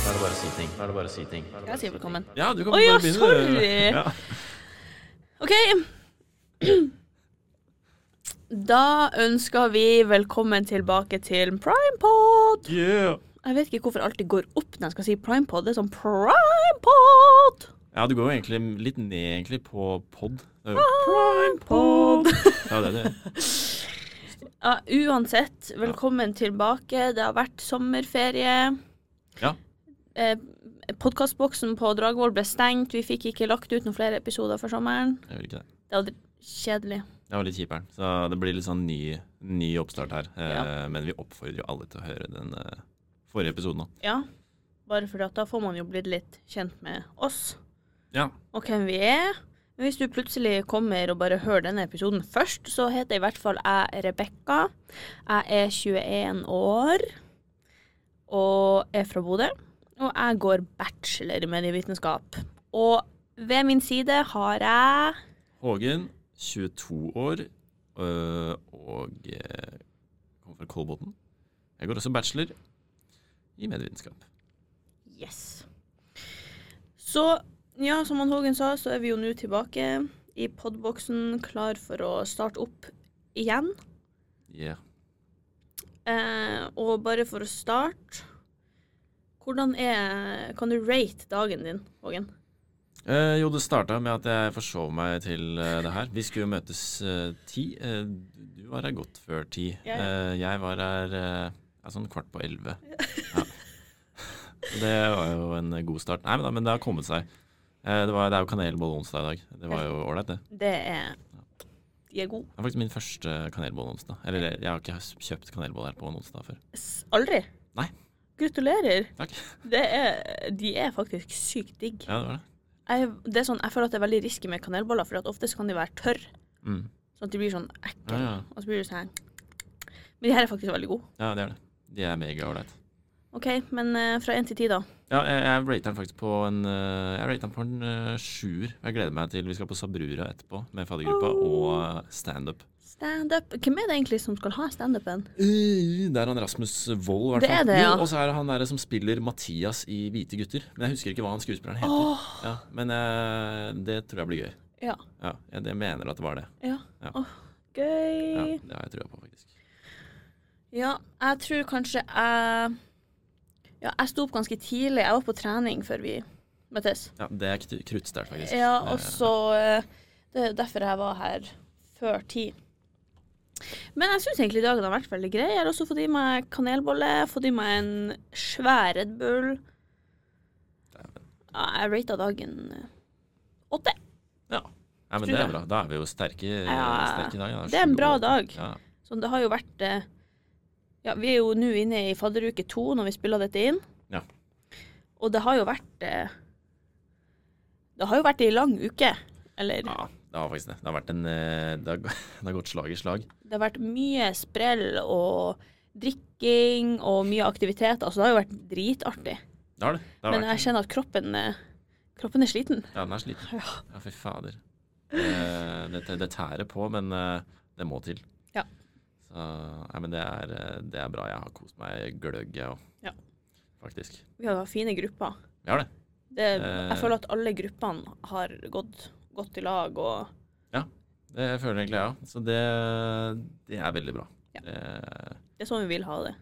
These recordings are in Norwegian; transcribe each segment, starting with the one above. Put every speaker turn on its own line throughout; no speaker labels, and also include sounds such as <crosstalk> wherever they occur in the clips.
ting. Da er det bare å si ting.
Jeg sier velkommen.
Ja, du kan
Å ja,
bare begynne.
sorry.
Ja.
OK. <clears throat> Da ønsker vi velkommen tilbake til Primepod.
Yeah.
Jeg vet ikke hvorfor jeg alltid går opp når jeg skal si primepod. Det er sånn primepod!
Ja, du går jo egentlig litt ned egentlig på pod. Det er jo-
Primepod.
Ja, det er det.
Ja, uansett, velkommen tilbake. Det har vært sommerferie.
Ja.
Eh, Podkastboksen på Dragvoll ble stengt. Vi fikk ikke lagt ut noen flere episoder for sommeren.
Jeg vil ikke det.
Det var kjedelig.
Det var litt kjiperen. Så det blir litt sånn ny, ny oppstart her. Eh, Men vi oppfordrer jo alle til å høre den eh, forrige episoden òg.
Ja. Bare fordi at da får man jo blitt litt kjent med oss
Ja.
og hvem vi er. Men hvis du plutselig kommer og bare hører denne episoden først, så heter i hvert fall jeg Rebekka. Jeg er 21 år og er fra Bodø. Og jeg går bachelor i medievitenskap. Og ved min side har jeg
Hågen, 22 år, øh, og øh, kommer fra Kolbotn. Jeg går også bachelor i medievitenskap.
Yes. Så, ja, som han Hågen sa, så er vi jo nå tilbake i podboksen, klar for å starte opp igjen.
Yeah.
Eh, og bare for å starte Hvordan er Kan du rate dagen din, Hågen?
Eh, jo, det starta med at jeg forsov meg til eh, det her. Vi skulle jo møtes eh, ti. Eh, du var her godt før ti.
Ja,
Eh, jeg var her eh, ja, sånn kvart på elleve. Ja. <laughs> Det var jo en god start. Nei, men, da, men det har kommet seg. Eh, det, var, det er jo kanelbolle onsdag i dag. Det var jo ålreit, det.
Det er De er gode.
Det er faktisk min første kanelbolle onsdag. Eller jeg har ikke kjøpt kanelbolle her på en onsdag før.
S- Aldri.
Nei.
Gratulerer.
Takk.
Det er, de er faktisk sykt digg.
Ja, det var det.
Jeg, det er sånn, jeg føler at det er veldig risky med kanelboller, for at ofte så kan de være tørre.
Mm.
Sånn at de blir sånn ekle.
Ja, ja.
Og så blir du sånn her. Men de her er faktisk veldig gode.
ja, det er det. De er megaålreite.
OK, men eh, fra én til ti, da.
Ja, jeg, jeg rater den faktisk på en eh, Jeg rater den på en eh, sjuer. Jeg gleder meg til vi skal på Sabrura etterpå med faddergruppa og eh, standup.
Standup. Hvem er det egentlig som skal ha standupen?
Eh, Det er han Rasmus Wold, i hvert
Det
fall.
er det, ja.
Jo, Og så er det han der som spiller Mathias i Hvite gutter. Men jeg husker ikke hva han skuespilleren heter.
Åh,
Ja, men eh, det tror jeg blir gøy.
ja.
Ja, jeg, jeg mener at det var det.
Ja.
Ja.
Åh,
Ja,
gøy.
det har jeg trua på, faktisk.
Ja, jeg tror kanskje jeg Ja, jeg sto opp ganske tidlig. Jeg var på trening før vi møttes.
Ja, Det er kru- kruttsterkt, faktisk.
Ja,
Eh,
og så eh, Det er derfor jeg var her før ti. Men jeg syns egentlig dagen har vært veldig grei. Jeg har også fått i meg kanelbolle, fått i meg en svær Red Bull. Ja, jeg rata dagen eh, åtte.
Ja. Nei, men
Tror
det er
jeg.
bra. Da er vi jo sterke,
Ja,
sterke i dag. ja.
det er en
Sju
bra
og-
dag.
Ja.
Så det har jo vært eh, Ja, vi er jo nå inne i fadderuke to når vi spiller dette inn.
Ja.
Og det har jo vært eh, Det har jo vært ei lang uke. Eller
ja, det har faktisk det. Det har, vært en, eh, det har, g- det har gått slag i slag.
Det har vært mye sprell og drikking og mye aktiviteter. Altså, det har jo vært dritartig.
Det har det. det har
Men
vært.
jeg kjenner at kroppen, eh, kroppen er sliten. <laughs>
Ja, den er sliten. Ja, fy fader. Eh, Det, det tærer på, men eh, det må til.
Ja.
Så, nei, men det er, eh, det er bra. Jeg har kost meg gløgg, jeg òg.
Ja.
Faktisk.
Vi har fine grupper.
Vi har det.
Det,
Eh.
jeg føler at alle gruppene har gått godt i lag og
Det føler jeg egentlig jeg òg. Så det, det er veldig bra.
Ja.
Eh,
Det er sånn vi vil ha det.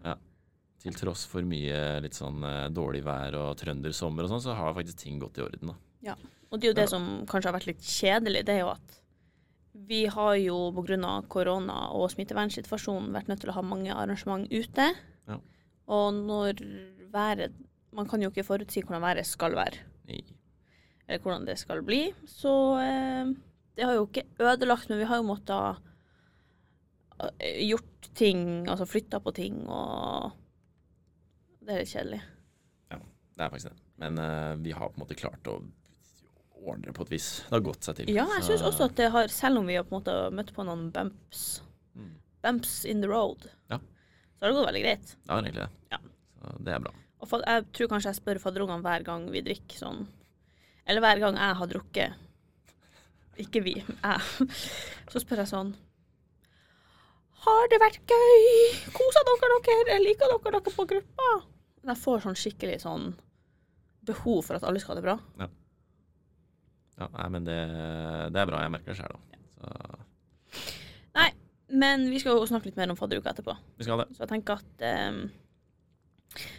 til tross for mye litt sånn eh, dårlig vær og trøndersommer og sånn, så har faktisk ting gått i orden, da.
Og det er jo det
Ja.
som kanskje har vært litt kjedelig, det er jo at vi har jo pga. korona og smittevernsituasjonen vært nødt til å ha mange arrangement ute.
Ja.
Og når været Man kan jo ikke forutsi hvordan været skal være,
Nei.
eller hvordan det skal bli. Så eh, det har jo ikke ødelagt, men vi har jo måttet eh, gjort ting, altså flytta på ting og Det er litt kjedelig.
Det er faktisk det. Men eh, vi har på en måte klart å ordne det på et vis. Det har gått seg til.
Ja, jeg
Så-
syns også at det har, selv om vi har på en måte møtt på noen bumps,
Mm.
bumps in the road,
Ja.
så har det gått veldig greit.
Det har egentlig det.
Ja.
Så det er bra.
Og fa- jeg tror kanskje jeg spør fadderungene hver gang vi drikker sånn. Eller hver gang jeg har drukket. Ikke vi, jeg. Så spør jeg sånn Har det vært gøy? Kosa dere dere? Liker dere dere på gruppa? Men Jeg får sånn skikkelig sånn behov for at alle skal ha det bra.
Ja, nei, men det, det er bra. Jeg merker det sjøl òg.
Men vi skal jo snakke litt mer om fadderuka etterpå.
Vi skal ha det.
Så jeg tenker at ehm,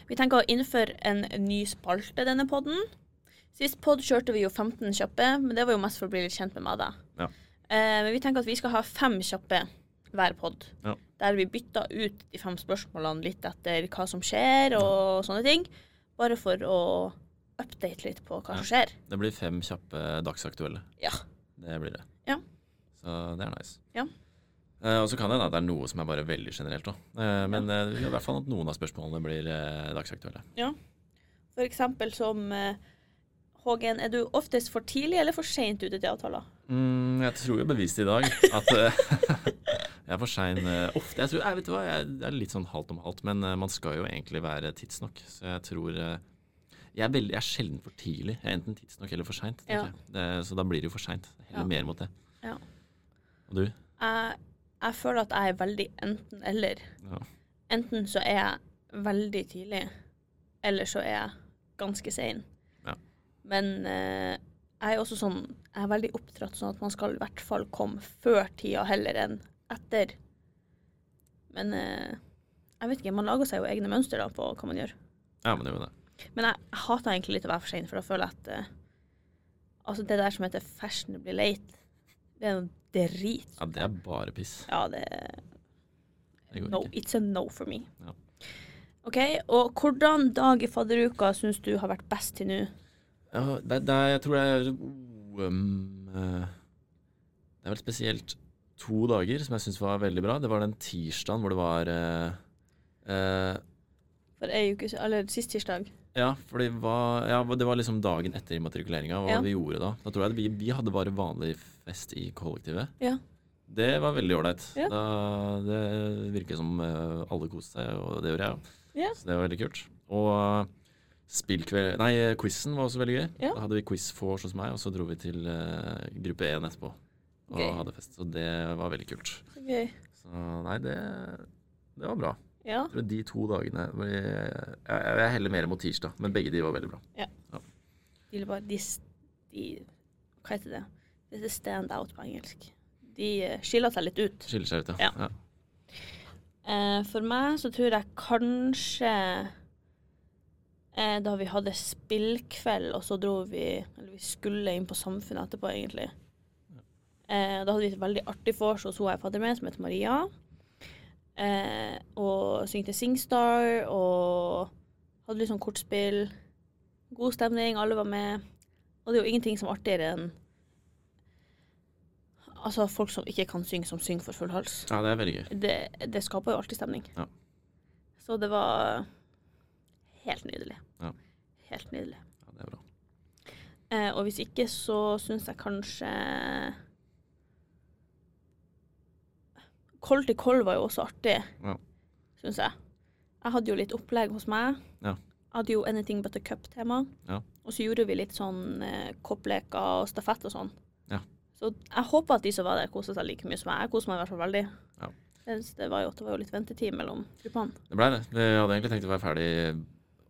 Vi tenker å innføre en ny spalte denne podden. Sist podd kjørte vi jo 15 kjappe, men det var jo mest for å bli litt kjent med meg, da.
Ja.
Eh, men vi tenker at vi skal ha fem kjappe hver podd.
Ja.
Der vi bytter ut de fem spørsmålene litt etter hva som skjer og sånne ting. Bare for å update litt på hva som skjer.
Det blir fem kjappe dagsaktuelle.
Ja.
Det blir det.
Ja.
Så det er nice.
Ja.
Eh, og så kan det hende at det er noe som er bare veldig generelt òg. men eh, det gjør i hvert fall at noen av spørsmålene blir eh, dagsaktuelle.
For eksempel som eh, Hågen, er du oftest for tidlig eller for seint ute til avtaler?
Mm, jeg tror jo bevist i dag at eh, <laughs> jeg er for sein eh, ofte. Jeg tror, jeg vet du hva, jeg det er litt sånn halvt om halvt, men eh, man skal jo egentlig være tidsnok. Så jeg tror eh, jeg, er veldig, jeg er sjelden for tidlig. Jeg er enten tidsnok eller for seint.
Ja.
Så da blir det jo for seint. Heller
Ja.
mer mot det.
Ja.
Og du?
jeg, jeg føler at jeg er veldig enten-eller.
Ja.
Enten så er jeg veldig tidlig, eller så er jeg ganske sein.
Ja.
Men eh, jeg er også sånn Jeg er veldig oppdratt sånn at man skal i hvert fall komme før tida heller enn etter. Men eh, jeg vet ikke, man lager seg jo egne mønster da på hva man gjør.
Ja, men det er jo det.
Men jeg, jeg hater egentlig litt å være for sein, for da føler jeg at eh, Altså, det der som heter fashionably late, det er noe drit.
Ja, det er bare piss.
Ja, det
Det går
No,
ikke.
it's a no for me.
Ja.
OK, og hvordan dag i fadderuka syns du har vært best til nå?
Ja, det, det, er- jeg tror det er um, eh, Det er vel spesielt to dager som jeg syns var veldig bra. Det var den tirsdagen hvor det var eh, eh,
For ei uke siden, eller sist tirsdag.
Ja, fordi hva, ja, det var liksom dagen etter immatrikuleringa. Hva
Ja.
vi gjorde da? Da tror jeg at vi, vi hadde bare vanlig fest i kollektivet.
Ja.
Det var veldig ålreit.
Ja.
Da- Det virker som eh, alle koste seg, og det gjorde jeg òg.
Ja.
Så det var veldig kult. Og eh, spillkveld Nei, eh, quizen var også veldig gøy.
Ja.
Da hadde vi quiz vors hos meg, og så dro vi til eh, gruppe 1 etterpå og
Gøy.
hadde fest. Så det var veldig kult.
Okay.
Så nei, det, det var bra.
Ja.
Jeg tror de to dagene var- Jeg, jeg, jeg heller mer mot tirsdag, men begge de var veldig bra.
De, bare, de, s- de Hva heter det? Det heter stand out på engelsk. De eh, skiller seg litt ut.
Skiller seg ut,
Ja.
ja. ja.
Eh, for meg så tror jeg kanskje eh, da vi hadde spillkveld, og så dro vi Eller vi skulle inn på Samfunnet etterpå, egentlig. Eh, da hadde vi et veldig artig vors hos hun jeg er fadder med, som heter Maria. Eh, og syngte Singstar og hadde litt sånn kortspill. God stemning, alle var med. Og det er jo ingenting som er artigere enn Altså folk som ikke kan synge, som synger for full hals
ja, det er veldig gøy.
det, det skaper jo alltid stemning.
Ja.
Så det var helt nydelig.
Ja.
Helt nydelig.
Ja, det er bra.
Eh, og hvis ikke, så syns jeg kanskje Koll til koll var jo også artig,
Ja.
syns jeg. Jeg hadde jo litt opplegg hos meg.
Ja.
Jeg hadde jo Anything But A Cup-tema.
Ja.
Og så gjorde vi litt sånn eh, koppleker og stafett og sånn.
Ja.
Så jeg håper at de som var der, koser seg like mye som meg. Jeg koser meg i hvert fall veldig.
Ja.
Jeg synes Det var jo, det var jo litt ventetid mellom gruppene.
Det blei det. Vi hadde egentlig tenkt å være ferdig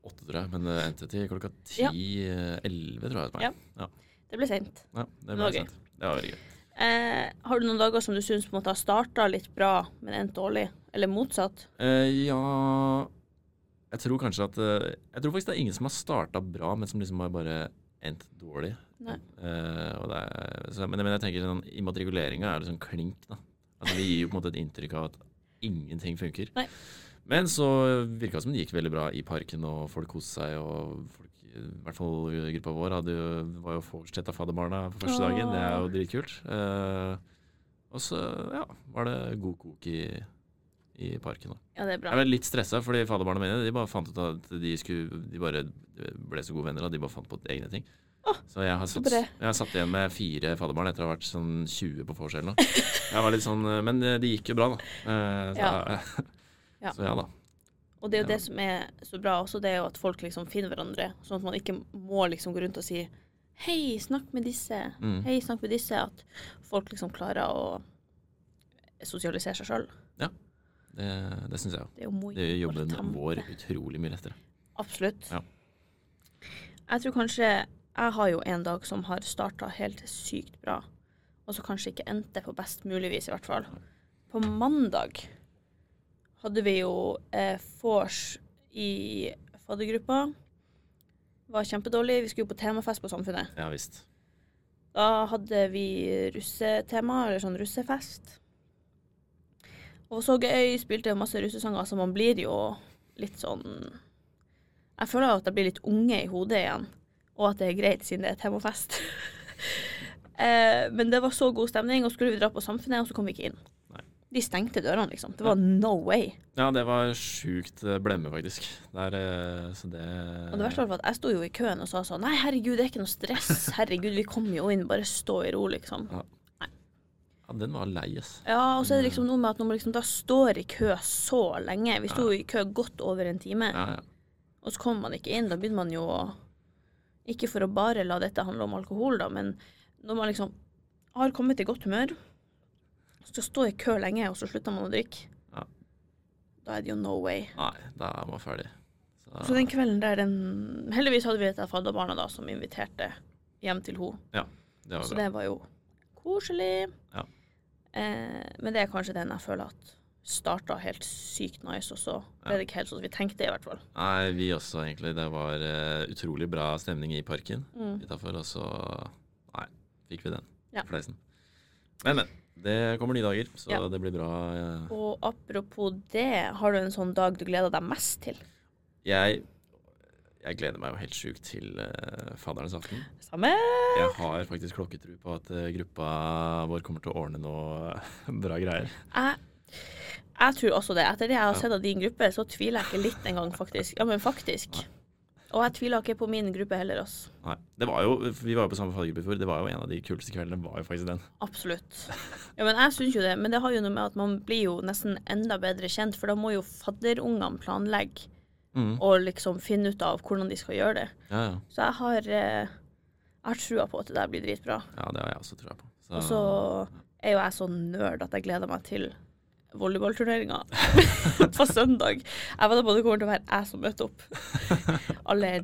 åtte, tror jeg, men det endte til klokka
Ja.
ti-elleve, tror jeg. det ble.
Ja. Det ble seint.
Ja, det,
var
ble
gøy.
sent. det var veldig gøy.
Eh, har du noen dager som du syns på en måte har starta litt bra, men endt dårlig? Eller motsatt?
Eh, ja Jeg tror kanskje at eh, Jeg tror faktisk det er ingen som har starta bra, men som liksom har bare endt dårlig.
Nei.
Eh, og det er, så, men, men jeg tenker sånn, immatrikuleringa er liksom klink, da. Altså, vi gir jo på en måte et inntrykk av at ingenting funker.
Nei.
Men så virka det som det gikk veldig bra i parken, og folk koste seg. og folk, I hvert fall gruppa vår hadde jo, var jo forstett av fadderbarna på første dagen. Det er jo dritkult. Eh, og så ja, var det god kok i, i parken. da.
Ja, det er bra.
Jeg var litt stressa, fordi faderbarna mine de bare fant ut at de, skulle, de bare ble så gode venner at de bare fant på egne ting.
Åh,
så jeg har,
så
satt,
bra.
jeg har satt igjen med fire faderbarn etter å ha vært sånn 20 på vors eller noe. Jeg var litt sånn, eh, Men eh, det gikk jo bra, da. Eh, Så
Ja.
ja, <laughs>
Ja.
så, ja da.
Og det er jo
Ja.
det som er så bra også, det er jo at folk liksom finner hverandre. Sånn at man ikke må liksom gå rundt og si Hei, snakk med disse.
Mm.
Hei, snakk med disse. At folk liksom klarer å sosialisere seg sjøl.
Det, det syns jeg jo.
Det er jo mye
Det gjør
for
jobben
tampen.
vår utrolig mye lettere.
Absolutt.
Ja.
Jeg tror kanskje Jeg har jo en dag som har starta helt sykt bra, og så kanskje ikke endte på best mulig vis, i hvert fall. På mandag hadde vi jo eh, vors i faddergruppa. Var kjempedårlig. Vi skulle på temafest på Samfunnet.
Ja visst.
Da hadde vi russetema, eller sånn russefest. Og så gøy, spilte masse russesanger, så man blir jo litt sånn Jeg føler at jeg blir litt unge i hodet igjen, og at det er greit siden det er temafest. <laughs> eh, men det var så god stemning, og skulle vi dra på Samfunnet, og så kom vi ikke inn.
Nei.
De stengte dørene, liksom. Det var no way.
Ja, det var sjukt eh, blemme, faktisk. Der, eh, så det
Og det verste var at jeg sto jo i køen og sa sånn Nei, herregud, det er ikke noe stress. Herregud, vi kom jo inn. Bare stå i ro, liksom.
Ja, den var lei, ass.
Ja, og så er det
Mm.
liksom noe med at når man liksom da står i kø så lenge Vi sto i kø godt over en time,
Ja, ja.
og så kommer man ikke inn. Da begynner man jo å Ikke for å bare la dette handle om alkohol, da, men når man liksom har kommet i godt humør, så stå i kø lenge, og så slutter man å drikke.
Ja.
Da er det jo no way.
Nei, da er man ferdig. Så,
Så den kvelden der, den Heldigvis hadde vi et av fadderbarna da som inviterte hjem til henne.
det var
Så
bra.
det var jo koselig.
Ja.
Eh, men det er kanskje den jeg føler at starta helt sykt nice, og så ble det ikke helt sånn som vi tenkte, i hvert fall.
Nei, vi også, egentlig. Det var eh, utrolig bra stemning i parken
Mm.
utafor, og så Nei, fikk vi den.
Ja.
Fleisen. Men, men. Det kommer nye dager, så
Ja.
det blir bra. eh,
Og apropos det, har du en sånn dag du gleder deg mest til?
Jeg, jeg gleder meg jo helt sjukt til eh, faddernes aften.
Samme?
Jeg har faktisk klokketro på at eh, gruppa vår kommer til å ordne noe eh, bra greier.
Jeg, jeg tror også det. Etter det jeg har
Ja.
sett av din gruppe, så tviler jeg ikke litt engang, faktisk. Ja, men faktisk. Og jeg tviler ikke på min gruppe heller, altså.
Nei, det var jo, Vi var jo på samme faddergruppe i fjor. Det var jo en av de kuleste kveldene. var jo faktisk den.
Absolutt. Ja, men jeg syns jo det. Men det har jo noe med at man blir jo nesten enda bedre kjent, for da må jo fadderungene planlegge og liksom finne ut av hvordan de skal gjøre det.
Mm. Ja, ja.
Så jeg har, eh, jeg har trua på at det der blir dritbra.
ja, det har jeg også trua på. Så,
Og så er jo jeg så nerd at jeg gleder meg til volleyballturneringa <laughs> på søndag. Jeg vet på det kommer til å være jeg som møter opp. Alle er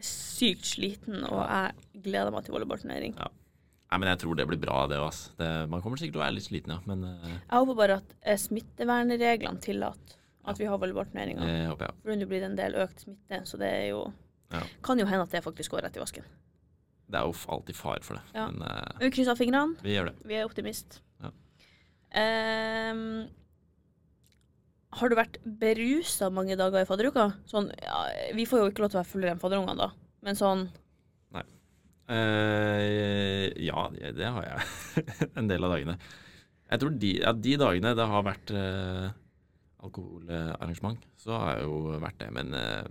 sykt sliten, og jeg gleder meg til volleyballturnering.
Nei, men jeg tror det blir bra, det òg. Man kommer sikkert til å være litt sliten, ja. Men eh,
Jeg håper bare at eh, smittevernreglene tillater at vi har volleyballturneringer.
det eh, håper jeg.
For nå blir det en del økt smitte, så det er jo
Ja.
Kan jo hende at det faktisk går rett i vasken.
Det er jo alltid fare for det.
Ja.
Men eh,
Men Vi krysser fingrene.
vi gjør det.
Vi er optimist.
Ja.
Ehm, har du vært berusa mange dager i fadderuka? Sånn, ja, vi får jo ikke lov til å være fullere enn fadderungene, da. Men sånn
Eh, ja, det har jeg. <laughs> en del av dagene. Jeg tror de, ja, de dagene det har vært eh, alkoholarrangement, så har jeg jo vært det. Men eh,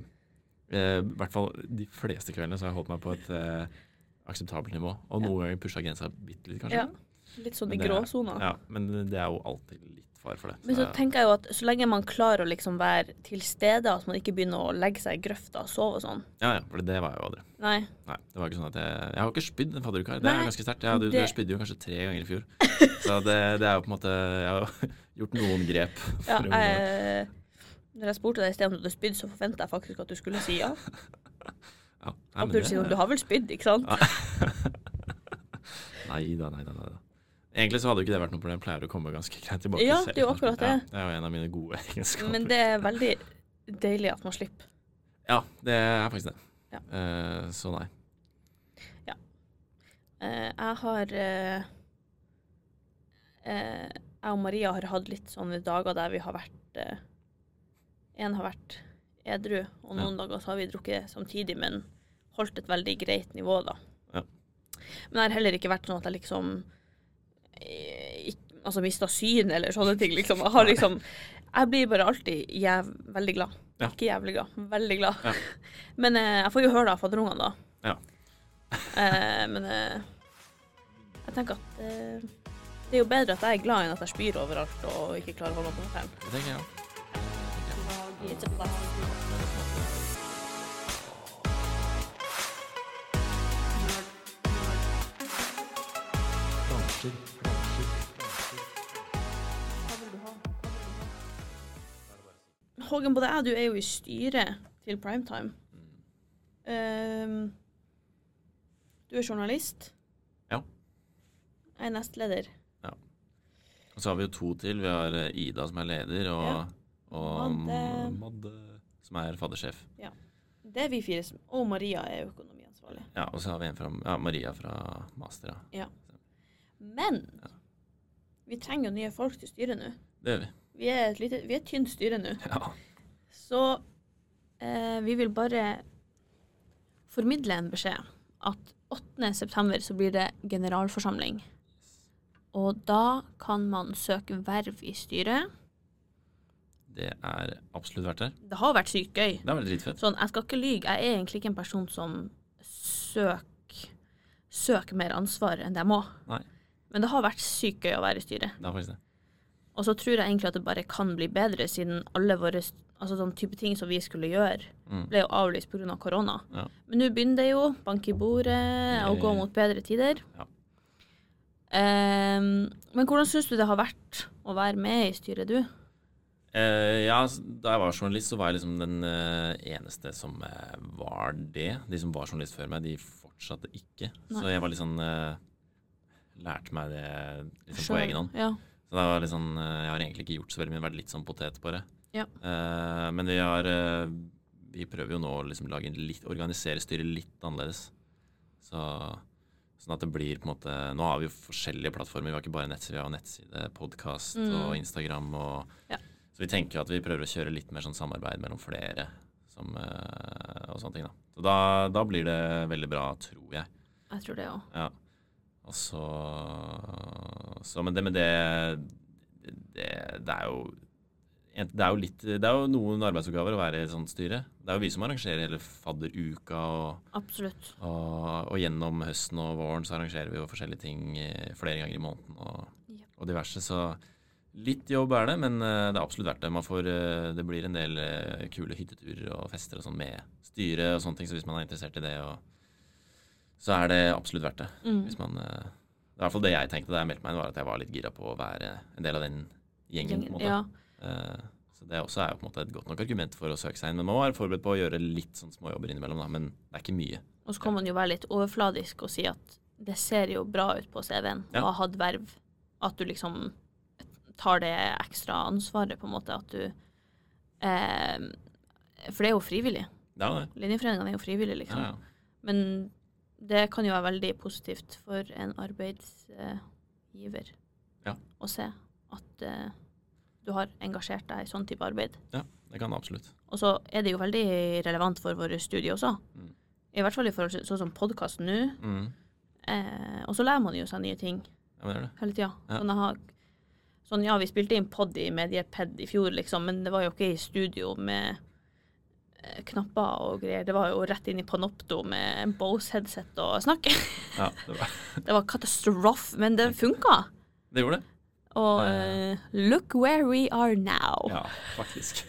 eh, i hvert fall de fleste kveldene så har jeg holdt meg på et eh, akseptabelt nivå. Og noen ganger pusha grensa bitte litt, kanskje.
ja, litt sånn i
Men det er-
gråsona.
Ja, Men det er jo alltid litt fare for det.
Men så
jeg-
tenker jeg jo at så lenge man klarer å liksom være til stede, at man ikke begynner å legge seg i grøfta og sove og sånn.
ja, ja, for det var jeg jo aldri.
Nei.
Nei, det var ikke sånn at jeg Jeg har ikke spydd en fadderuke her. Det
Nei,
er ganske sterkt. Ja, du, du
det-
spydde jo kanskje tre ganger i
<laughs>
fjor. Så det, det er jo på en måte Jeg har <laughs> gjort noen grep. For
Ja,
å unngå det.
jeg, når jeg spurte deg i sted om du hadde spydd, så forventa jeg faktisk at du skulle si ja.
ja. Nei,
Og
men
du sier
det-
du har vel spydd, ikke sant?
Nei da, nei da. nei da. Egentlig så hadde jo ikke det vært noe problem. Jeg Pleier å komme ganske greit tilbake.
Ja,
selv.
det er jo akkurat
Ja,
det.
det er jo en av mine gode <laughs> egenskaper.
Men det er veldig deilig at man slipper.
Ja, det er faktisk det.
Ja.
Eh, så nei.
Eh, jeg har eh, eh, Jeg og Maria har hatt litt sånne dager der vi har vært eh, En har vært edru, og noen dager så har vi drukket samtidig, men holdt et veldig greit nivå, da.
Ja.
Men jeg har heller ikke vært sånn at jeg liksom eh, ikk- Altså mista syn eller sånne ting, liksom. Jeg har liksom Jeg blir bare alltid jæv veldig glad.
Ja.
Ikke jævlig glad, men veldig glad.
Ja.
<laughs> Men eh, jeg får jo høre det av fadderungene, da.
Ja.
<laughs> Eh, men eh, jeg tenker at eh, det er jo bedre at jeg er glad enn at jeg spyr overalt og ikke klarer å holde meg på fem.
Det tenker jeg òg.
Hågen, både jeg og du er jo i styret til primetime. Ehm, du er journalist.
Ja.
Jeg er nestleder.
Og så har vi jo to til. Vi har eh, Ida som er leder, og,
Ja.
og
Madde.
Madde som er faddersjef.
Det er vi fire som Og Maria er økonomiansvarlig.
Ja, og så har vi en fra ja, Maria fra Master. Ja.
Men
Ja.
vi trenger jo nye folk til styret nå.
Det gjør vi. <laughs>
Vi er et lite, vi er et tynt styre nå.
Ja.
Så eh, vi vil bare formidle en beskjed at 8. september så blir det generalforsamling. Og da kan man søke verv i styret.
Det er absolutt verdt det.
Det har vært sykt gøy.
Det er veldig dritfett.
Sånn, jeg skal ikke lyge, jeg er egentlig ikke en person som søker, søker mer ansvar enn det jeg må.
Nei.
Men det har vært sykt gøy å være i styret.
Det er faktisk det.
Og så tror jeg egentlig at det bare kan bli bedre, siden alle våre altså sånn type ting som vi skulle gjøre,
Mm.
ble jo avlyst pga. Av korona.
Ja.
Men nå begynner det jo. Banke i bordet og gå mot bedre tider.
Ja.
Ehm, men hvordan syns du det har vært å være med i styret, du?
Eh, ja, s- da jeg var journalist, så var jeg liksom den eh, eneste som eh, var det. De som var journalist før meg, de fortsatte ikke. Så
Nei.
jeg var litt sånn eh, Lærte meg det liksom på
Selv?
egen hånd.
Ja.
Så det var litt sånn, eh, jeg har egentlig ikke gjort så veldig mye, vært litt sånn potet på det.
Ja.
Eh, men vi har eh, Vi prøver jo nå å liksom lage en litt, organisere styret litt annerledes. Så, sånn at det blir på en måte Nå har vi jo forskjellige plattformer. Vi har ikke bare nettside, vi har nettside, podkast og
Mm.
Instagram. Og,
Ja.
Så vi tenker jo at vi prøver å kjøre litt mer sånn samarbeid mellom flere som, eh, og sånne ting. Da. Så da, da blir det veldig bra, tror jeg.
Jeg tror det òg.
Ja. Og så, så Men det med det, det Det er jo en- det er jo, litt, det er jo noen arbeidsoppgaver å være i et sånt styre. Det er jo vi som arrangerer hele fadderuka, og,
Absolutt.
og, og gjennom høsten og våren så arrangerer vi jo forskjellige ting eh, flere ganger i måneden og,
Jep.
og diverse. Så litt jobb er det, men eh, det er absolutt verdt det. Man får, eh, det blir en del eh, kule hytteturer og fester og sånn med styret og sånne ting, så hvis man er interessert i det, og, så er det absolutt verdt det.
Mm.
Hvis man, eh, det er i hvert fall det jeg tenkte da jeg meldte meg inn, var at jeg var litt gira på å være en del av den gjengen. på en måte.
Ja.
Eh, så det også er jo på en måte et godt nok argument for å søke seg inn. Men man må være forberedt på å gjøre litt sånn småjobber innimellom, da. Men det er ikke mye.
Og så kan man jo være litt overfladisk og si at det ser jo bra ut på CV-en
Ja.
å ha hatt verv. At du liksom tar det ekstra ansvaret, på en måte. At du eh, For det er jo frivillig.
Ja, det.
Linjeforeningene er jo frivillige,
Ja,
liksom.
ja.
Men det kan jo være veldig positivt for en arbeidsgiver
Ja.
å se at eh, du har engasjert deg i sånn type arbeid.
ja, det kan det absolutt.
Og så er det jo veldig relevant for våre studier også.
Mm.
I hvert fall i forhold til sånn som podkasten nå.
Mm.
Eh, og så lærer man jo seg nye ting
Ja, men det er det.
hele tida.
Ja.
Sånn, jeg har- sånn ja, vi spilte inn pod i Medieped i fjor, liksom, men det var jo ikke i studio med eh, knapper og greier. Det var jo rett inn i Panopto med Bose-headset og snakke.
Ja, det, var.
<laughs>
<laughs>
Det var katastrofe, men det funka.
det gjorde det.
Og
Ja, ja,
eh, look where we are now.
Ja,
<laughs>
faktisk.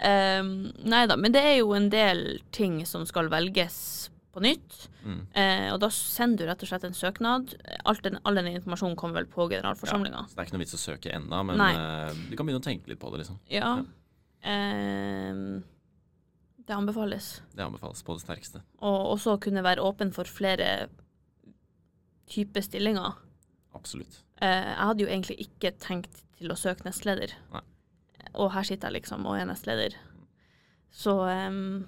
Um, nei da, men det er jo en del ting som skal velges på nytt.
Mm.
Eh, og da sender du rett og slett en søknad. Alt den, all den informasjonen kommer vel på generalforsamlinga.
Så det er ikke noe vits å søke ennå, men
Nei.
eh, du kan begynne å tenke litt på det, liksom.
Ja. Ehm, det anbefales.
Det anbefales på det sterkeste.
Og også kunne være åpen for flere typer stillinger.
Absolutt.
Eh, jeg hadde jo egentlig ikke tenkt til å søke nestleder.
Nei.
Og her sitter jeg liksom og er nestleder. Så ehm,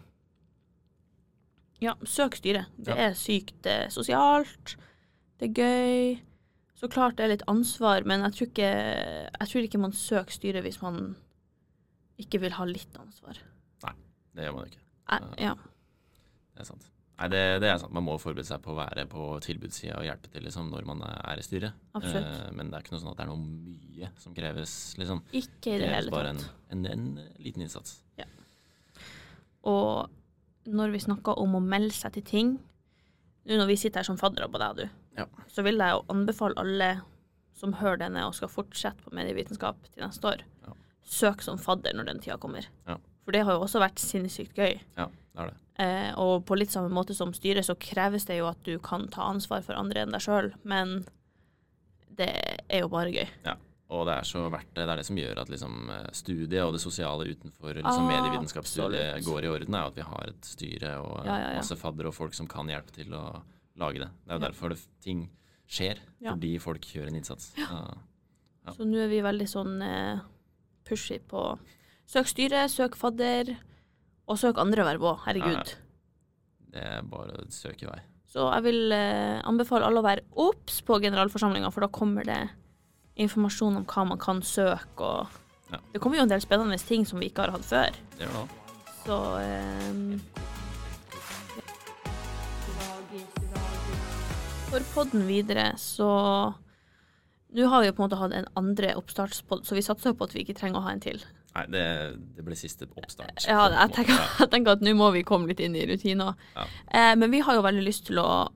ja, søk styret. Det
Ja.
er sykt eh, sosialt. Det er gøy. Så klart det er litt ansvar, men jeg tror ikke, jeg tror ikke man søker styret hvis man ikke vil ha litt ansvar.
Det gjør man ikke.
Jeg, Eh, ja.
Det er sant. Nei, det, det er sant. Man må forberede seg på å være på tilbudssida og hjelpe til liksom, når man er i styret.
Absolutt.
Eh, men det er ikke noe sånn at det er noe mye som kreves. Liksom.
Ikke i det
kreves
hele
bare en,
tatt.
en, en liten innsats.
Og når vi snakker om å melde seg til ting Nå når vi sitter her som faddere på deg, du,
Ja.
så vil jeg jo anbefale alle som hører denne og skal fortsette på medievitenskap til neste år,
Ja.
søk som fadder når den tida kommer.
Ja.
For det har jo også vært sinnssykt gøy.
Ja, det er det.
Eh, og på litt samme måte som styret, så kreves det jo at du kan ta ansvar for andre enn deg sjøl, men det er jo bare gøy.
Og det er så verdt det. Det er det som gjør at liksom, eh, studiet og det sosiale utenfor liksom, medievitenskapsstudiet
Ah, Absolutt.
går i orden, er jo at vi har et styre og eh,
Ja, ja, ja.
masse fadder og folk som kan hjelpe til å lage det. Det er jo
Ja.
derfor det, f- ting skjer,
Ja.
fordi folk gjør en innsats. Ja. Ja.
Så nå er vi veldig sånn eh, pushy på søk styre, søk fadder, og søk andre verv òg. Herregud.
Ja, Det er bare å søke vei.
Så jeg vil eh, anbefale alle å være obs på generalforsamlinga, for da kommer det informasjon om hva man kan søke, og
Ja.
det kommer jo en del spennende ting som vi ikke har hatt før.
Det gjør det da.
Så eh, For podden videre, så Nå har vi jo på en måte hatt en andre oppstartspodd, så vi satser jo på at vi ikke trenger å ha en til.
Nei, det, det ble siste oppstart.
Ja, jeg tenker, <laughs> jeg tenker at nå må vi komme litt inn i rutiner.
Ja.
Eh, men vi har jo veldig lyst til å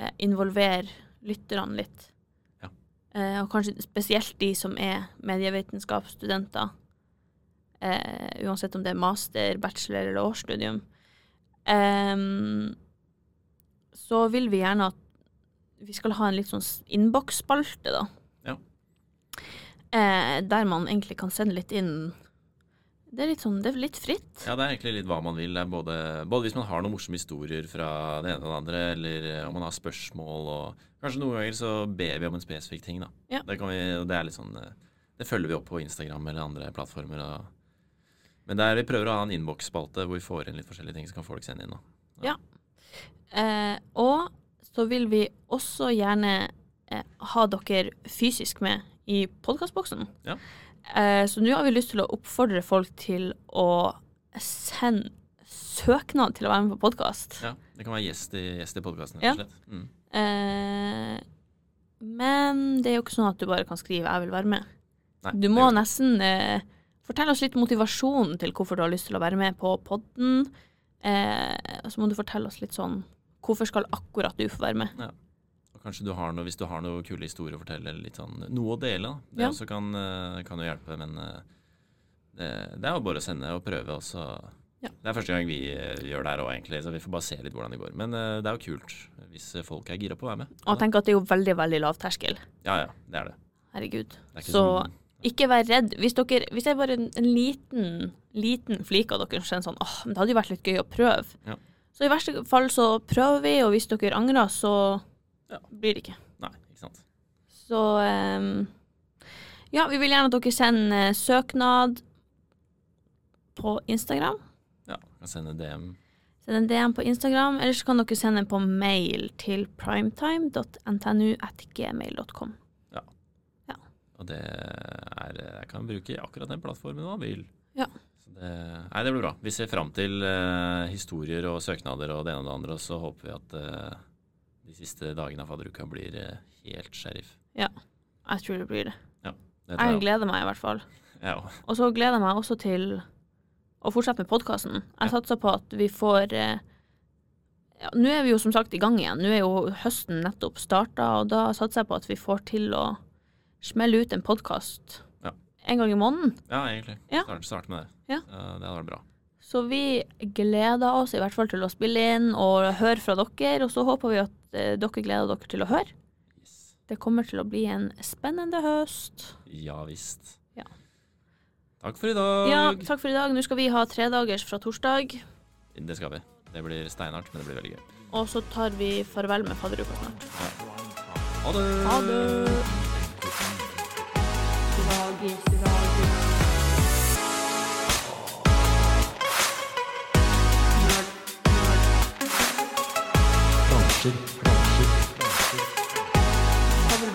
eh, involvere lytterne litt.
Ja.
Eh, og kanskje spesielt de som er medievitenskapsstudenter. Eh, uansett om det er master, bachelor eller årsstudium. Em, så vil vi gjerne at vi skal ha en litt sånn s- innboksspalte, da.
Ja.
Eh, der man egentlig kan sende litt inn Det er litt sånn, det er litt fritt.
Ja, det er egentlig litt hva man vil. Det er både, både hvis man har noen morsomme historier fra det ene og det andre, eller eh, om man har spørsmål og Kanskje noen ganger så ber vi om en spesifikk ting, da.
Ja.
Det, kan vi, og det er litt sånn eh, Det følger vi opp på Instagram eller andre plattformer. Og, men der vi prøver å ha en innboksspalte hvor vi får inn litt forskjellige ting, så kan folk sende inn. Da.
Eh, og så vil vi også gjerne eh, ha dere fysisk med i podkastboksen.
Ja.
Eh, så nå har vi lyst til å oppfordre folk til å sende søknad til å være med på podkast.
Ja, det kan være gjest i, gjest i podkasten,
Ja.
rett og slett. Mm.
Eh, men det er jo ikke sånn at du bare kan skrive 'jeg vil være med'.
Nei,
Du
det
må
gjør-
nesten eh, fortelle oss litt motivasjonen til hvorfor du har lyst til å være med på podden. Eh, og så må du fortelle oss litt sånn Hvorfor skal akkurat du få være med?
og Kanskje du har noe, Hvis du har noe kule historier å fortelle, eller litt sånn, noe å dele, da. det
Ja.
også kan, eh, kan jo hjelpe. Men eh, det, det er jo bare å sende og prøve. Og så.
Ja.
Det er første gang vi eh, gjør det her òg, egentlig, så vi får bare se litt hvordan det går. Men eh, det er jo kult hvis folk er gira på å være med.
Og jeg tenker at det er jo veldig, veldig lav terskel.
Ja ja, det er det.
Herregud.
det er ikke
Så
sånn-
ikke vær redd. Hvis, dere, hvis det er bare en, en liten, liten flik av dere som kjenner sånn åh, men det hadde jo vært litt gøy å prøve.
Ja.
Så i verste fall så prøver vi, og hvis dere angrer, så
Ja.
blir det ikke.
Nei, ikke sant.
Så ehm, ja, vi vil gjerne at dere sender eh, søknad på Instagram.
Ja, kan sende DM.
Send en DM på Instagram, eller så kan dere sende den på mail til primetime.ntnu.gmail.com.
Og det er Jeg kan bruke akkurat den plattformen man vil.
Ja.
Så det, nei, det blir bra. Vi ser fram til eh, historier og søknader og det ene og det andre, og så håper vi at eh, de siste dagene av fadderuka blir eh, helt sheriff.
Jeg tror det blir det.
Det tror
Jeg
jeg.
gleder meg i hvert fall.
Ja, og-
Og så gleder jeg meg også til å fortsette med podkasten. Jeg
Ja.
satser på at vi får eh, ja, Nå er vi jo som sagt i gang igjen. Nå er jo høsten nettopp starta, og da satser jeg på at vi får til å smelle ut en podkast
Ja.
en gang i måneden.
ja egentlig.
Ja.
Start, start med det.
Ja.
Eh, det hadde vært bra.
Så vi gleder oss i hvert fall til å spille inn og høre fra dere, og så håper vi at eh, dere gleder dere til å høre.
Yes.
Det kommer til å bli en spennende høst.
Ja visst.
Ja.
Takk for i dag.
Ja, takk for i dag. Nå skal vi ha tredagers fra torsdag,
Det skal vi. Det blir steinhardt, men det blir veldig gøy.
og så tar vi farvel med fadderuka snart.
Ha det.
Ha det!
Bransjer, bransjer, bransjer.
Da er det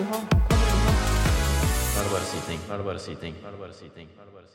bare å si ting. Da er det bare å si ting. Da er det bare å si ting. Da er det bare å si ting.